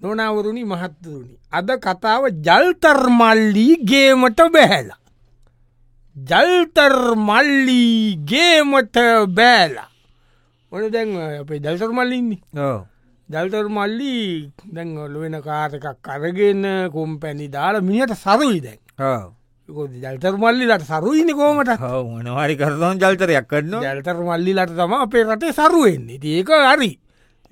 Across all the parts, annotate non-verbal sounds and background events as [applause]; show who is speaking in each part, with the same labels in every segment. Speaker 1: නොනවරුණි මහත්තරුණි. අද කතාව ජල්තර්මල්ලීගේමට බැහැලා. ජල්තර්මල්ලීගේමට බෑලා. ඔන දැන් ඔය අපේ ජල්තර්මල්ලින්නේ. ජල්තර්මල්ලි දැන් ඔලුවෙන කාරකක් අරගෙන කොම්පැණි දාල මිනිට සරුයි දැන්. ජල්තර්මල්ලිලට සරුයිනි කෝමට
Speaker 2: මොනවාරි කරතන් චල්තරයක් [laughs] කරන්න
Speaker 1: ජල්තර මල්ලිලට තම අපේ රටේ සරුවෙන්නේ ඒක හරි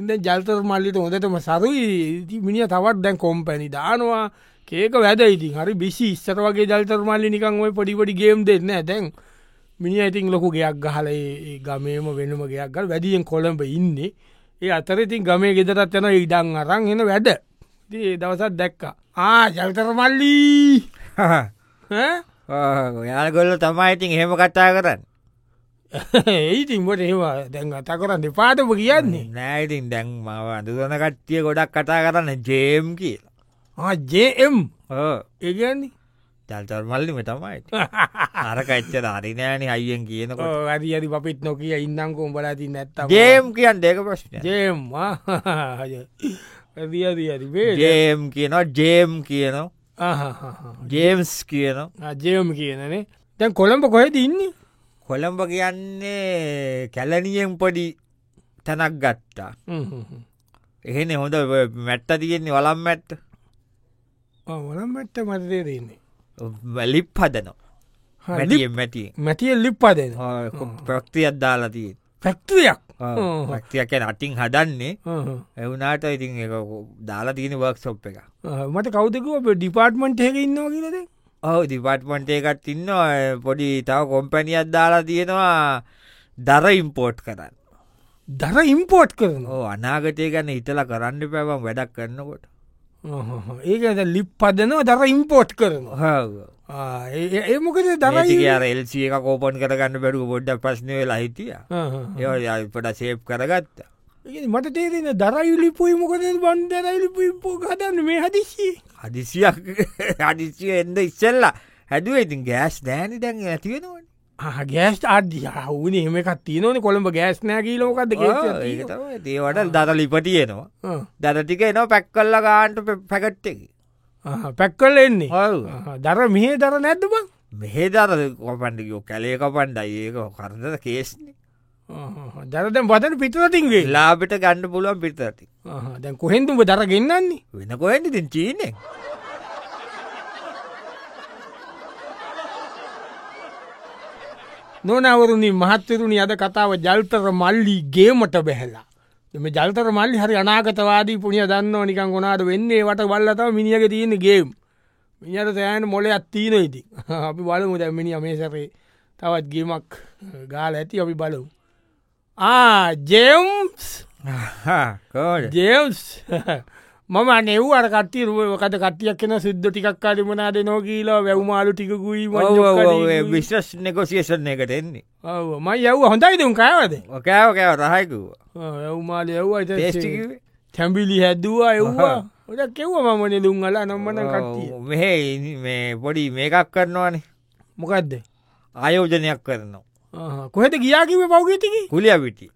Speaker 1: ඉද ජල්තර මල්ලිට හොදටම සරුයි ඉතින් මිනිිය තවත් දැන් කොම්පැණි දානවා ඒක වැද ඉතින් හරි බිසි ස්සර වගේ ජල්තර මල්ලි නිකං ඔය පොඩිපඩි ගේම් දෙන්න ඇතැන් මිනි ඉතින් ලොකු ගයක් ගහලේ ගමේම වෙනම ගයක් ගල් වැඩියෙන් කොළඹ ඉන්නේ ඒ අතර ඉතින් ගමේ ගෙදරත් යන ඉඩං අරන් එන වැඩ ඉතින් ඒ දවසත් දැක්ක ආ ජල්තර මල්ලී ඈ? [laughs]
Speaker 2: යාගොල්ල තමයි ඉතින් හෙම කට්ටා කරන්න
Speaker 1: ඒඉතින් බොට ඒවා දැන් අත කරන්න දෙපාටම කියන්නේ
Speaker 2: නෑඉතින් දැන් මව අඳුරන කට්ටිය ගොඩක් කටා කරන්න ජේම් කියලා
Speaker 1: ජම්
Speaker 2: ඕ
Speaker 1: ඒගන්නේ
Speaker 2: චල්තර මල්ලිම තමයි අරකච්ච ධරිනෑන අයියෙන් කියනකොට
Speaker 1: වැදි ඇරි පපිත් නොකිය ඉන්නංකෝ උඹලාති නැත්ත
Speaker 2: ජේම් කියන්න දෙක ප්‍රශ්න
Speaker 1: ජම් ඇදිඇරිබේ
Speaker 2: ජේම් කියනවා ජේම් කියනවා ජේම්ස් කියනවා
Speaker 1: ජයම කියනනේ දැන් කොළඹ කොහෙද ඉන්නේ
Speaker 2: කොළඹ කියන්නේ කැලනියෙන් පොඩි තැනක් ගත්තා
Speaker 1: හ්ම් හ්ම් හ්ම්.
Speaker 2: එහෙන හොඳ මැට්ට තියෙන්නේ වලම් මැට්ට
Speaker 1: ආ, වලම්මැට්ට මතදේ දන්නේ
Speaker 2: ලිප් හදනවා
Speaker 1: හා,
Speaker 2: මැටිය මැටිය
Speaker 1: මැතිය ලිප්පා දෙෙන
Speaker 2: ප්‍රක්තියක් දාලතිී
Speaker 1: පැක්ට්‍රියක්
Speaker 2: ක්තියක් නටින් හදන්නේ එවුනාට ඉතින් එක දාලා තියෙන වක් සොප් එක
Speaker 1: මට කෞතකව ඩිපාර්ට්මන්ට් එක ඉන්නවා කියලද
Speaker 2: ඔහු දිපට්මට එකත් ඉන්න පොඩි තව කොම්පැනියක් දාලා තියෙනවා දර ඉම්පෝට් කරන්න
Speaker 1: දර ඉම්පෝට් කරනවා
Speaker 2: ඕ අනාගතය ගැන ඉතලා කරන්න පැවම් වැඩක් කරන්නකොට
Speaker 1: ඒක ලිප්පදනවා දර ඉම්පෝට් කරනවා ආ, ඒ- ඒ- ඒ මොකද දරයි
Speaker 2: දරයිර එල්සිය එක කෝපන් කරගන්න බැඩු පොඩ්ඩ ප්‍රශ්නය ලහිතිය ඒපට සේප් කරගත්ත
Speaker 1: ඒ මට තේරෙන දරයි ලිපුයි මොකද බන්දරයි ලිපු ඉම්පෝ හදන්න මේ හදිසි
Speaker 2: හදිසියක් [laughs] හදිසිය එන්න ඉස්සල්ලා හැදුව ඉතින් ගෑස් දෑනි දැන් ඇතිවෙනවට
Speaker 1: ගෑස් අඩ්‍ය හුන එමකත් තියනන කොළඹ ගෑස්නෑකී ලෝකක්ද
Speaker 2: ඒකට දේවට දත ලිපටියනවා දරටික එනවා පැක් කල්ල ගාන්ට පැකට්ටකි
Speaker 1: පැක්කල් එන්නේ
Speaker 2: ඔව්
Speaker 1: ආ, දර මෙහ දර නැද්ද බං
Speaker 2: මෙහෙදර කොපන්ඩිකෝ කැලේක පණ්ඩයි ඒක කරදද කේස්න
Speaker 1: ආ, දරදැන් බතන පිටරතින්ගේ
Speaker 2: ලාබට ගණ්ඩ පුළුවන් පිටරටි
Speaker 1: දැන් කොහෙන්තුම දර ගෙන්න්නන්නේ
Speaker 2: වෙනකොහෙන්ට ඉතින් චීනෙක්
Speaker 1: නොනවරුණින් මහත්තරුණි අද කතාව ජල්තර මල්ලි ගේමට බැහලා. එම ජල්තර මල්ලි හරි අනාගතවාදී පුුණිය දන්න නිකන් ගොනාට වෙන්නේ වට බල්ලතාව මිනිියක තියෙන ගේම්. මිනිට සෑන මොල අත්තිීන ඉති [laughs] අපි බලමු දැමිනි මේ සැපේ තවත් ගේමක් ගාල ඇති අපි බලමු. ආ ජෙම්ස් ජෙම්ස් [laughs] මම නෙව් අර කටි රුවකට කටියක් කෙන සිද්ධ ටිකක් කරිමනාද නෝකීලා වැැව්මාලු ටිකුයි
Speaker 2: විශ්‍රශ්න කොසිේෂන් එකට එන්නේ
Speaker 1: ඔව් මයි යව් හොඳයිදුම් කෑවද
Speaker 2: ඕකෑව කෑව රහයකුව
Speaker 1: ඇව්මාල යව්වට
Speaker 2: පේස්ටිකිවේ
Speaker 1: තැම්බිලි හැදවා එව්වා ඔට කෙව්ව මමන දුන්ගල නොම්මන කට්ටිය
Speaker 2: ඔව් මෙහෙ ඉනි මේ පොඩි මේකක් කරනවානේ
Speaker 1: මොකක්ද
Speaker 2: ආයෝජනයක් කරනවා
Speaker 1: ආහා. කොහෙට ගියාකිව පෞගතිකි
Speaker 2: කුලිය පිටි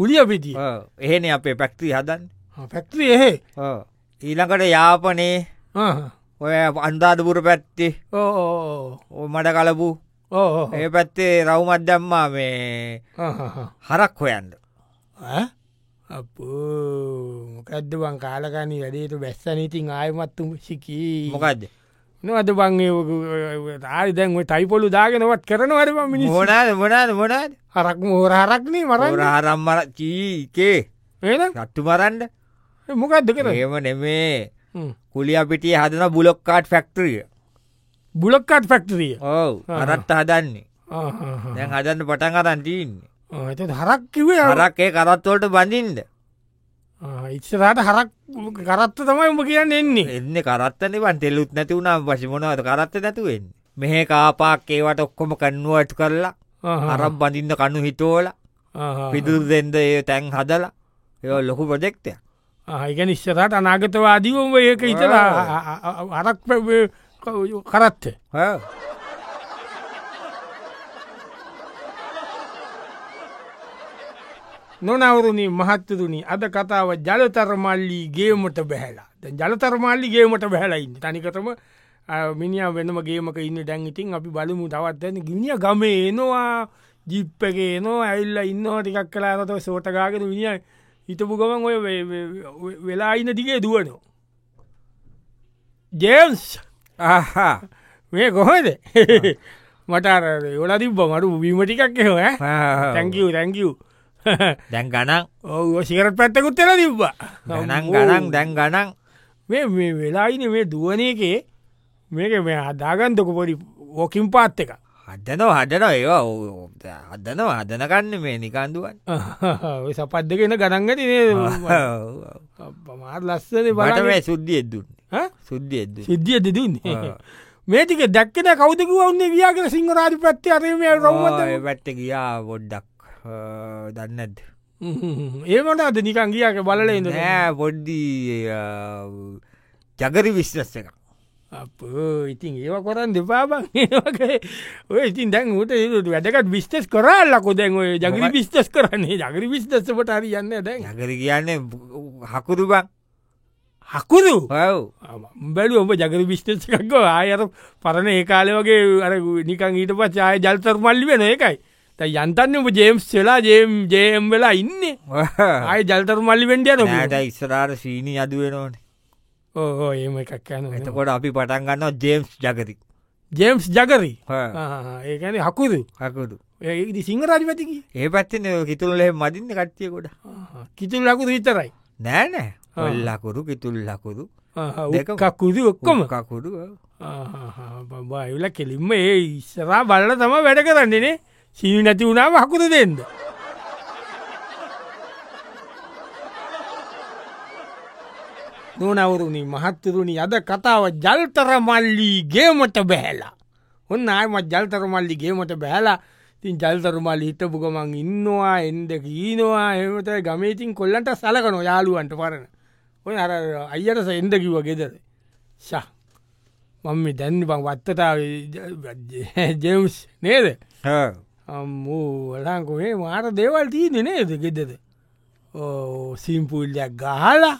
Speaker 1: කුලිය පිටි
Speaker 2: එහෙන අපේ පැක්ති හදන්
Speaker 1: පැක්ත්‍රී එහෙ
Speaker 2: ඊළඟට යාපනේ
Speaker 1: ආහා.
Speaker 2: ඔය අන්ධාධපුර පැත්තේ
Speaker 1: ඕ, ඕ,
Speaker 2: ඔය මඩ කලපු
Speaker 1: ඕ. ඕ, ඕ.
Speaker 2: ඒ පැත්තේ රවුමත් දැම්මා මේ
Speaker 1: ආහාහා.
Speaker 2: හරක් හොයන්ට
Speaker 1: ඈ? අපෝ මොකක්ද බං කාලකනී වැඩේට බැස්සනීතින් ආයමත්තුම සිකී
Speaker 2: මොකක්ද
Speaker 1: නොවද බං ආරි දැන්ව ටයිපොලු දාගෙනවත් කරනවරම මිනි
Speaker 2: මොනාද මොනාද මොනාද
Speaker 1: හරක් මෝර හරක්නේ මරන්න
Speaker 2: රහරම්මර චීකේ
Speaker 1: ඒ
Speaker 2: රට්ටු මරන්ඩ
Speaker 1: මොකක්ද කර
Speaker 2: ඒම නෙමේ
Speaker 1: Hmm.
Speaker 2: කුලිය පිටිය හදන බුලොක්කාට් ෆැක්ටරිය
Speaker 1: බුලොක්කාට් පැක්ටරිය
Speaker 2: ඔව හරට්ට හදන්නේ
Speaker 1: Ah, ඇත
Speaker 2: දැන් හදන්න පටන් අරන්ටීන්නේ
Speaker 1: Ah, හරක් කිවේ
Speaker 2: හරක් ඒ කරත්වොලට බඳින්ද
Speaker 1: ඉස්සරට හරක් කරත්ත තමයි උඹ කියන්න එන්නේ
Speaker 2: එන්න කරත්තන වන් තෙල්ලුත් නැති වුණා පශි මොනවද කරත්ත නැතුවෙන්න මෙහෙ කාපාක් ඒවට ඔක්කොම කන්නුවට කරලා
Speaker 1: Ah,
Speaker 2: හරම් බඳින්න කණු හිතෝල පිදුරු දෙෙන්ද ඒ තැන් හදලා ඒ ලොකු ප්‍රජෙක්ටය
Speaker 1: ඒගැන ඉස්සරට අනාගතවාදී උඹ ඒක
Speaker 2: Ah.
Speaker 1: ah, ඉතලා අරක් කරත්ත නොනවරුණී මහත්තතුනි අද කතාව ජලතරමල්ලී ගේමට බැහලා දැන් ජලතරමල්ලි ගේමට බැහලයින්න තනිකතම මිනිිය වෙනම ගේමක ඉන්න දැන්ඉතින් අපි බලමු තවත්දැන ගිනිිය ගමේ එනවා ජිප්පගේ නෝ ඇල්ල ඉන්නවා ටිකක් කලාරත සෝටකාගෙන විනිිය හිතපු ගමන් ඔය වෙලා ඉන්න ටිකේ දුවනෝ ජේම්ස්
Speaker 2: ආහා
Speaker 1: මේ කොහොද මටර ඔල තිබ මරු වීමටිකක් එහෝ තැංකව තැංකව් [laughs]
Speaker 2: දැන් ගනන්
Speaker 1: ඔ සිකරත් පැත්තකුත් එල තිබ්බා
Speaker 2: ගනන් ගනන් දැන් ගනන්
Speaker 1: මේ මේ වෙලායින මේ දුවන එකේ මේක මේ අදාගන්තක පොඩි ඕකින් පාත් එක
Speaker 2: හදනව හදන ඒවා හදනව හදනකන්න මේ නිකන්දුවන්
Speaker 1: ඔය සපත් දෙකෙන ගනන්ගති පමාර ලස්සන
Speaker 2: බට මේ සුද්ධිය දුන්න සුද්ධිය
Speaker 1: සිද්ධිය දෙදුන්නේ මේටික දැක්කෙන කෞදක වන්නේ වියාගල සිංහරාජි පත්ති අරීම රවත
Speaker 2: පැත්ත ගියා බොඩ්ඩක් දන්නද
Speaker 1: ඒමට අද නිකන් ගියක බලල ඉන්න
Speaker 2: නෑ පොඩ්ඩී ජගරි විශ්ලස්ස එක
Speaker 1: අප ඉතින් ඒව කොරන් දෙපාබන් [laughs] ඒවගේ ඔය ඉතින් දැන් ට ඒතු වැඩකට විිස්තස් කරල්ලකො දැන් ඔය ජගරි විිස්තස් කරන්නේ ජගරි විිස්තස්සපට හරි යන්න දැන්
Speaker 2: ජගර කියන්න හකුරුබන්
Speaker 1: හකුරු
Speaker 2: ඔව්
Speaker 1: බැලු ඔබ ජගර විිස්තසකක්ක ආයර පරණ ඒ කාලය වගේ අර නිකන් ඊට පචාය ජල්තර මල්ලි වෙන එකයි තැ යන්තන්න ඔබ ජේම්ස් වෙලා ජේම් ජේම් වෙලා ඉන්න ආය ජල්තර මල්ලි වෙන්ඩියන
Speaker 2: නෑට ඉස්සරාර ශීණී අදුවෙනවන
Speaker 1: ඕ ඒම එකක් යන
Speaker 2: එතකොට අපි පටන් ගන්නවා ජේම්ස් ජගති
Speaker 1: ජේම්ස් ජගරි
Speaker 2: හා.
Speaker 1: ඒකන හකුරු
Speaker 2: හකුරු
Speaker 1: ඒ සිංහරජපතිකි
Speaker 2: ඒ පත්තන කිතුල්ලේ මදින්න කට්ටියකොට
Speaker 1: කිතුල් ලකුතු විතරයි
Speaker 2: නෑනෑ ඔල්ලකුරු කිතුල් ලකුරු දෙකම.
Speaker 1: කකුදි ඔක්කොම
Speaker 2: කකුරු
Speaker 1: බබයිල කෙලින්ම ඒ ඉස්සරා බල්ල තම වැඩ කරන්නේනේ සීවි නැති වුණාව හකුරු දෙන්න නොනවරුණි මහත්තරුණි අද කතාව ජල්තර මල්ලී ගේමට බැහලා ඔන්න අයම ජල්තර මල්ලි ගේමට බැහලා තින් ජල්තරුමල් හිටපු ගමන් ඉන්නවා එන්ද කීනවා එමත ගමේතින් කොල්ලන්ට සලකනො යාලුවන්ට පරණ ඔය අර අයියට සෙන්ද කිව ගෙදර ශා මම මේ දැන්න බං වත්තතාව ජෙම්ස් නේද අම්මූලංකුේ මාර දේවල් තිීන නේද ගෙදද ඕ සිම්පුල්ලයක් ගහලා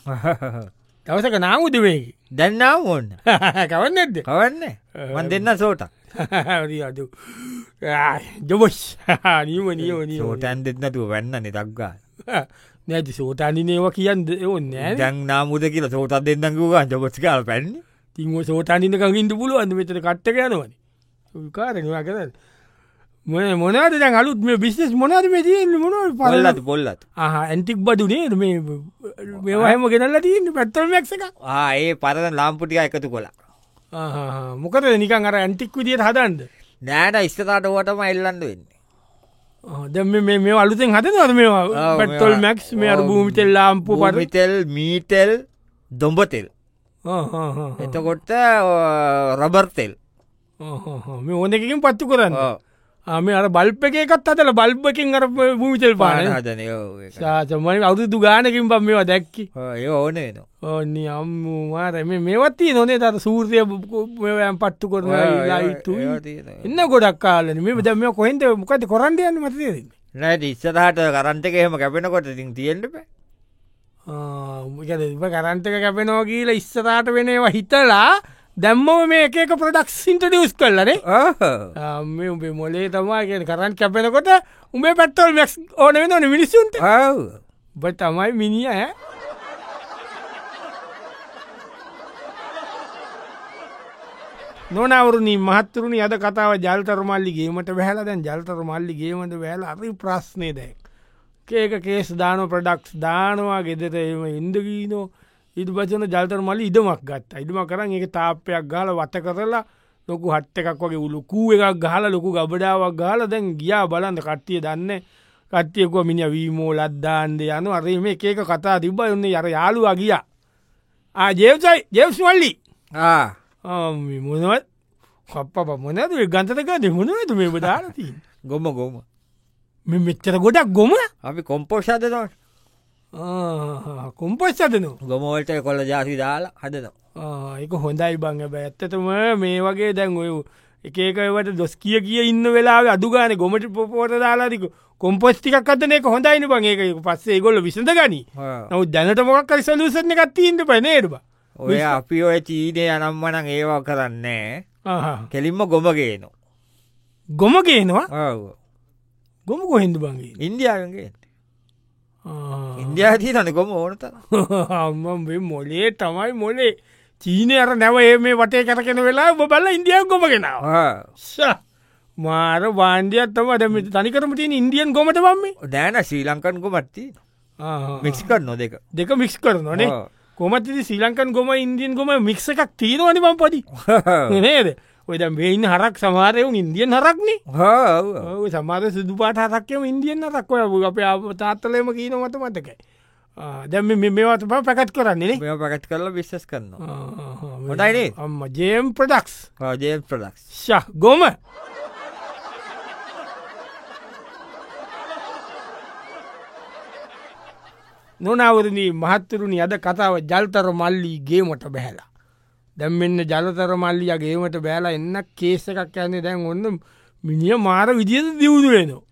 Speaker 1: දවසක [laughs] නාමුදවේකි
Speaker 2: දැන්නාව ඕන්න
Speaker 1: කවන්න [laughs] ඇද
Speaker 2: කවන්න මන් දෙන්න සෝට
Speaker 1: අඩු ජොබොස් [laughs] නීම නියෝ නියෝ
Speaker 2: සෝටන් දෙන්නතුව වැන්න නිතක්ගා
Speaker 1: [laughs] නැති සෝටානිනේව කියන්න ඕන්න නෑ
Speaker 2: දැන් නාමුද කියලා සෝටත් දෙන්නකවා ජොකොස්කාල පැන්න
Speaker 1: තිංව සෝටානිනකින්ට පුළුවන්ද මෙතට කට්ටක යනවන කාරවා කර මොන මොනාද දැන් අලුත් මේ බිස්නස් මොනාද මේ තියෙන මොන පල්ල
Speaker 2: පල්ලත් පොල්ලත්
Speaker 1: ඇන්ටික් බඩු නේද මේ මෙවාහම ගෙනල්ලා තියන්න පැත්තල් මැක්සක
Speaker 2: ඒ පරද ලාම්පුටික එකතු කොලා
Speaker 1: මොකද නිකන් අර ඇන්ටික් විදියට හදන්ද
Speaker 2: නෑට ඉස්තතාට ඕටම එල්ලන්න වෙන්න
Speaker 1: දැම මේ අලුතෙන් හදනවද මේවා
Speaker 2: ඔව්
Speaker 1: පැත්තොල්
Speaker 2: මේවා.
Speaker 1: මැක්ස් මේ අර
Speaker 2: ඔව්.
Speaker 1: භූමිතෙල් ලාම්පු පර
Speaker 2: පරිතෙල් මීටෙල් දොම්බතෙල් එතකොට රබර්තෙල්
Speaker 1: මේ ඕන එකකින් පත්තු කරන්න මේ අර බල්ප එකත් අතල බල්පකින් අර භූමිතෙල් පාන
Speaker 2: පානහදනය
Speaker 1: සාසමයි අවුදු ගානකින් පම් මේවා දැක්කි
Speaker 2: ඒ ඕන වෙන
Speaker 1: ඕන්න අම්මවාර මේ මේවත්ති නොනේ තර සූර්ය මෙවයන් පට්ටු කරන ලයිතු එන්න ගොඩක් කාලන මේ දැම කොහෙන්ට මොකද කොරන්ඩ යන්න මතේදන්න
Speaker 2: නැට ඉස්සරහට කරන්ටක එහෙම කැපෙනකොට ඉතින් තියෙන්ටප
Speaker 1: ගැ කරන්ටක කැපෙනෝ කියීල ඉස්සරාට වෙනවා හිතලා දැම්මෝ මේ එකක ප්‍රඩක්ස් ඉන්ටඩියස් කරලනේ මේ උඹේ මොලේ තමා කියෙන කරන්න කැපෙනකොට උඹේ පැත්තවල් මැක්ස් ඕන වෙනන මිනිසුන්ට බ තමයි මිනිිය ඈ නොනවරුණී මහත්තුරුණි අද කතාව ජල්තරමල්ලි ගේීමට බැහලා දැන් ජල්තරමල්ලි ගේීමට වැෑල අරි ප්‍රශ්නය දැක් ඒක කේස් දාන ප්‍රඩක්ස් දානවා ගෙදට එම ඉන්දගීනෝ ඉට පචන ජල්තර මල්ලි ඉඩමක් ගත් ඉඩම කරන්න එක තාපයක් ගාල වත කරලා ලොකු හට්ට එකක් වගේ උළු කූ එකක් ගහල ලොකු ගබඩාවක් ගාල දැන් ගියා බලන්ද කට්ටිය දන්න කට්ියක මිනි වීමෝ ලද්දාන්ද යන අරේ මේ ඒක කතා තිබ්බ යන්නේ යර යාලුවා ගියා ආ ජේවසයි ජේවස් වල්ලි මොනවත් කප්ප මොනද ගන්තක දෙමුණද මේ බදාලතිී
Speaker 2: ගොම ගොම
Speaker 1: මෙ මෙච්චර ගොඩක් ගොම
Speaker 2: අපි කොම්පෝෂ්දනට
Speaker 1: කොම්පස් අදනු
Speaker 2: ගොමවලට කොල්ල ජාති දාලා හදනවා
Speaker 1: එක හොඳයි බංග බැත්තතම මේ වගේ දැන් ඔය එකකවට දොස් කිය කිය ඉන්න වෙලා අදුගාන ගොමට පොපෝට දාලාරික කොම්පස්ටිකක් කතනය කොහොඳයින බංඒක පස්සේ ගොල්ල විසඳ ගනී නව දැනට මොක් කර සලූසන එකත්තීන්ට පැනේරුව
Speaker 2: ඔය අපි ඔය චීනය අනම්මනං ඒවා කරන්නේ කෙලින්ම ගොමගේනවා
Speaker 1: ගොම ගේනවා
Speaker 2: ඔව්.
Speaker 1: ගොම කොහෙන්දු බංගේ
Speaker 2: ඉන්දියාවගේ ඉන්දයා තිීනන ගොම ඕනත
Speaker 1: අම්මේ මොලේ තමයි මොලේ චීනය අර නැව ඒ මේ වටේ කරගෙන වෙලා ඔබ බල ඉන්දියාව ගොමගෙනවා මාර බාන්්ඩියත්තම අදම තනිකරම තියෙන ඉන්දියන් ගොමට බම්මේ
Speaker 2: දෑන ශ්‍රී ලංකන් ගොමත්ති මික්සිකන් නොදක
Speaker 1: දෙක මික්ස් කරනනේ කොමති ශ්‍රී ලංකන් ගොම ඉන්දියන් ගොම මික්ස එකක් තියෙනවනි බම් පදි නේද ඔයද මෙයින් හරක් සමාරයවුන් ඉන්දියන් හරක්නේ ඔය සමාර සිදු පාට හරක්යම ඉන්දියන් හරක්ොය අප තාත්තලයම කියීනොමට මතකයි දැම මේවට ප පැකත් කරන්නේ
Speaker 2: මෙ පකට් කරලා විශ්ස් කරනවා
Speaker 1: හොටයිනේ
Speaker 2: හොඳයිනේ.
Speaker 1: අම්ම ජේම් ප්‍රඩක්ස්
Speaker 2: රජය ප්‍රලක්ස්
Speaker 1: ශ ගොම නොනවරණී මහත්තරුණි අද කතාව ජල්තර මල්ලී ගේමට බැහලා. දැම් මෙන්න ජලතර මල්ලිය ගේමට බෑලා එන්න කේස එකක් යන්නේ දැන් ඔන්න මිනිිය මාර විදිියද දියුදුරෙනවා.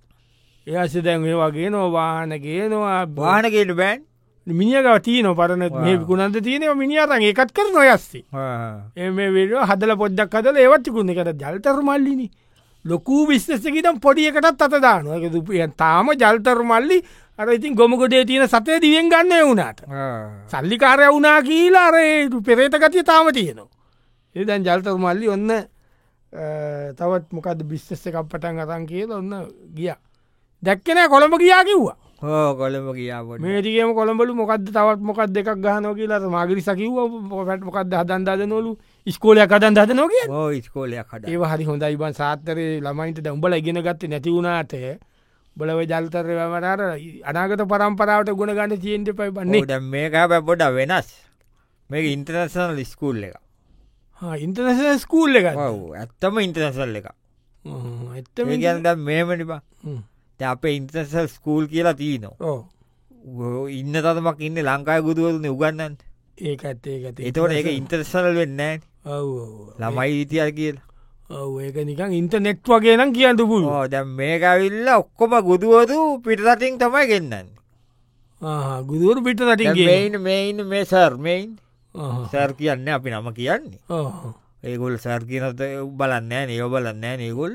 Speaker 1: එයාස දැන් ඒ වගේ නොවාන ගේනවා බා
Speaker 2: වානකට බෑන්
Speaker 1: මිනිියකව තියන පරණ මේ ගුණන්ත තියනව මිනිියරන් එකත් කරන යස්සේ. එම වෙල හදල පොද්දක් කදල ඒවත්තිකුණ එකට ජල්තර මල්ලිනි ලොකූ විශ්නසකිතම් පොඩි එකටත් අතදාන දුපිය තාම ජල්තර මල්ලි අර ඉතින් ගොමකොඩේ තියෙන සතය දිවෙන් ගන්න වුණට සල්ලිකාරය වුනා කියීලා අරේ පෙරේත ගතිය තාම තියෙනවා ඒදැන් ජල්තර මල්ලි ඔන්න අ, තවත් මොකද බිස්්ස එකක් පටන් අතන් කියල ඔන්න ගිය දැක්කනෑ කොළඹ කියා කිව්වා
Speaker 2: හෝ කොළඹ කියාවට
Speaker 1: මේටිකම කොළඹලු මොකද තවත් මොකක් දෙකක් ගහනෝ කියලට මාගරි සකිව පොට මොකක්ද හදන්දාද නොලු ස්කෝලයක් අදන් දද නොක
Speaker 2: ඕ ඉස්කෝලයක් හට
Speaker 1: ඒව හරි හොඳ ඉබන් සාත්තරය ළමයින්ට දැම්බල ඉගෙන ගත්ත නැති වුණාට බලව ජල්තරය වමරර අනාගත පරම්පරාවට ගුණ ගන්න චීන්ට පයි පන්නේ
Speaker 2: ට මේක පැපොඩ වෙනස් මේ ඉන්ටර්නසනල් ස්කූල් එක
Speaker 1: ඉන්ටනස ස්කූල්ල එක
Speaker 2: ඔව්, ඇත්තම ඉන්ටර්නසල් එක
Speaker 1: එත්ත
Speaker 2: ඒගැන්ද මේමනිබා ද අප ඉන්ටර්නසල් ස්කූල් කියලා තියනවා ඉන්න තතමක් ඉන්න ලංකාය ගුදුවරන උගන්නන්න
Speaker 1: ඒක ඇත්තේ ගත
Speaker 2: එතවට ඒක ඉන්ටර්සනල් වෙන්න ළමයි ඉතිය කියලා
Speaker 1: ඔව ඒක නිකන් ඉන්ට නෙට් වගේ නම් කියන්න පුළුව
Speaker 2: ඕ දැ මේකවිල්ල ඔක්කොම ගුදුවතු පිටතින් තමයි ගෙන්න්න
Speaker 1: ගුදුවරු පිට රටින්ගේ
Speaker 2: මෙයින් මෙයින් මේ සර්මයින් සර් කියන්න අපි නම කියන්නේ ඒගොල් සර් කියනත බලන්න නය බලන්න නයගොල්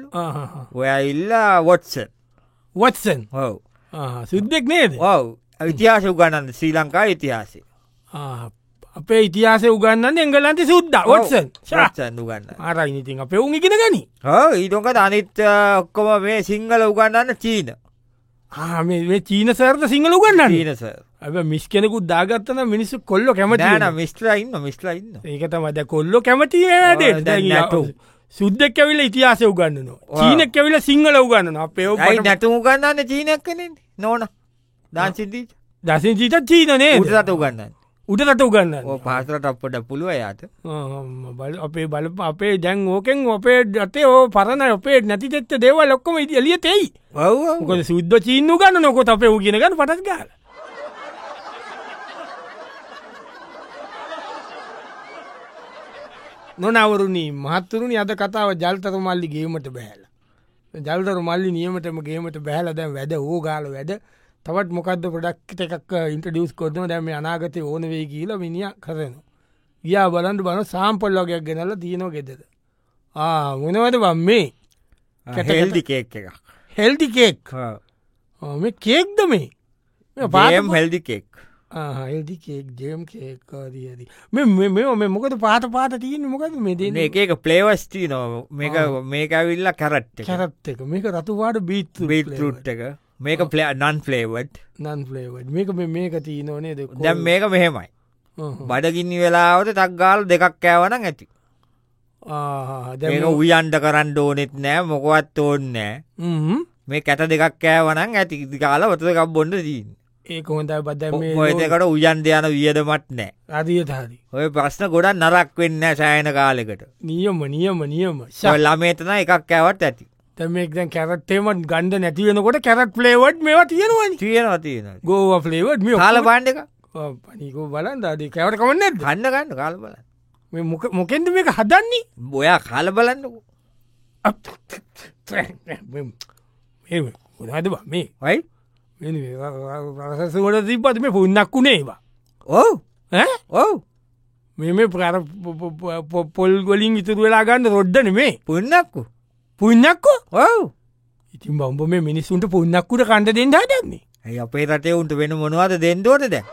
Speaker 2: ඔය ඉල්ලා වොටසන්
Speaker 1: වත්සන්
Speaker 2: හව
Speaker 1: සිද්ධෙක් නේද
Speaker 2: ඔව් විතිහාස උගණන්න ශ්‍රී ලංකා ඉතිහාසේ
Speaker 1: ආ, අපේ ඉතිහාස උගන්න එංගලන්ති සුද්ද ඔත්සන්
Speaker 2: සන් උගන්න
Speaker 1: ආරයිනිතින් අපේ උන් ඉගෙන ගනි
Speaker 2: ඊටොකට අනිත් අ, ඔක්කොම මේ සිංහල උගන්නන්න චීන
Speaker 1: ආමේ චීන සරත සිංහල උගන්න
Speaker 2: චීනස
Speaker 1: ඇ මිස් කෙනෙකුත් දාගත්තන මිනිස්සු කොල්ල කැමට
Speaker 2: ෑන මිස්ට්‍රයින්න මිස්ටලයින්න
Speaker 1: ඒකට මද කොල්ලො කැමති
Speaker 2: ඔව්, දැන් නැටුම්.
Speaker 1: සුද්දක් ඇවිල ඉතිහාස උගන්නනවා
Speaker 2: ඔව්.
Speaker 1: චීනක් ඇවිල සිංහල උගන්නන අපේ
Speaker 2: යි නැතු උගන්නන්න චීනක් කනෙ නෝන දාන්සිදී
Speaker 1: දසින් චීත චීනනේ
Speaker 2: උටසට උගන්නන්න
Speaker 1: උටකට උගන්න
Speaker 2: ඕ පාසරට අපට පුළුව යාත
Speaker 1: බල අපේ බල අපේ දැන් ඕකෙන් අපේ ජතේ ඕ පරණ අපේ නැතිතෙත්ත දේවල් ලොක්කොම ඉති එලිය තෙයි
Speaker 2: ඔව්
Speaker 1: මොකද සුද්ද චීන්නු ගන්න නොකොත් අපේ උගෙනගන්න පටත් ගාල නොනවරුණී මහත්තුරුණි අද කතාව ජල්තර මල්ලි ගේීමට බැහල ජල්තර මල්ලි නියමටම ගේීමට බැහල දැන් වැද ඕ ගාල වැඩ තවත් මොකක්ද පොඩක්ට එකක් uh, ඉන්ටඩියස් කොටන දැම අනාගත ඕන වේ කියීල මිනිිය කරන ගියා බලන්ඩ බන සාම්පල් ලොගයක් ගෙනල තියනො ගෙදද මොනවද බම් මේ
Speaker 2: හෙල්දි කේක් එකක්
Speaker 1: හෙල්ටි කේක් ආ, මේ කේක්ද මේ මේ පාට
Speaker 2: පායම් හෙල්දි කෙක්
Speaker 1: ආහෙල්දි කේක් ජයම් කේක්කාදීදී මෙ මෙ මොකද පාට පාට තියෙන මොකද මේ දෙන
Speaker 2: එක එක පලේවස්ටී නෝ මේක මේක ඇවිල්ලා කැරට්
Speaker 1: කැරත් එක මේක රතුවාට බීත්
Speaker 2: රුට් එක මේක පලේ නන් ෆලේවට්
Speaker 1: නන් ලේවට මේක මේ- මේක තියනෝනේ දෙක
Speaker 2: දැම් මේක මෙහෙමයි බඩගින්න වෙලාවට තක්ගාල් දෙකක් කෑවන ඇති ඒක උයන්ට කරන්න ඕනෙත් නෑ මොකවත් ඕන්නෑ මේ කැට දෙකක් කෑවනන් ඇති ඉතිකාල වතකක් බොන්න දීන්
Speaker 1: ඒක හොඳයි බද මේ
Speaker 2: ඔයතකට උයන් යන වියදමත් නෑ
Speaker 1: අධියතාරි
Speaker 2: ඔය ප්‍රශ්න ගොඩක් නරක් වෙන්න සෑයන කාලෙකට
Speaker 1: නියම නියම නියම
Speaker 2: ළමේතන එකක් කෑවට ඇති
Speaker 1: තැමෙක් දැන් කැරත්තේමට ගණඩ නැතිවෙනකොට කැරත් ලේවට් මේවා තියෙනවනි
Speaker 2: තියෙනවා තියෙන
Speaker 1: ගෝව ෆලේවට් මේ
Speaker 2: කාල පාණ්ඩ එක
Speaker 1: පනිකෝ බලන් දාද කැවට කමන්න ඇද
Speaker 2: ගන්න ගන්න කාල බලන්න
Speaker 1: මොකෙන්ද මේක හදන්නේ
Speaker 2: බොයා කාල බලන්නකු
Speaker 1: හොනාද මේ
Speaker 2: ඔයි
Speaker 1: සවට තිීපත් මේ පුන්නක් වුණේවා
Speaker 2: ඕ ඕ
Speaker 1: මෙම ප්‍රර පොල් ගොලින් ඉතුරු වෙලා ගන්න රොඩ්ඩන මේ
Speaker 2: පුන්නක්කු
Speaker 1: පුන්නක්කෝ
Speaker 2: ඔව්
Speaker 1: ඉතින් බම්බ මේ මිනිස්සුන්ට පුන්නක්කුට කණ්ඩ දෙෙන්ඩා දන්නේ
Speaker 2: ඇයි අපේ රටේ උන්ට වෙන මොනවාද දෙන්දෝට දැ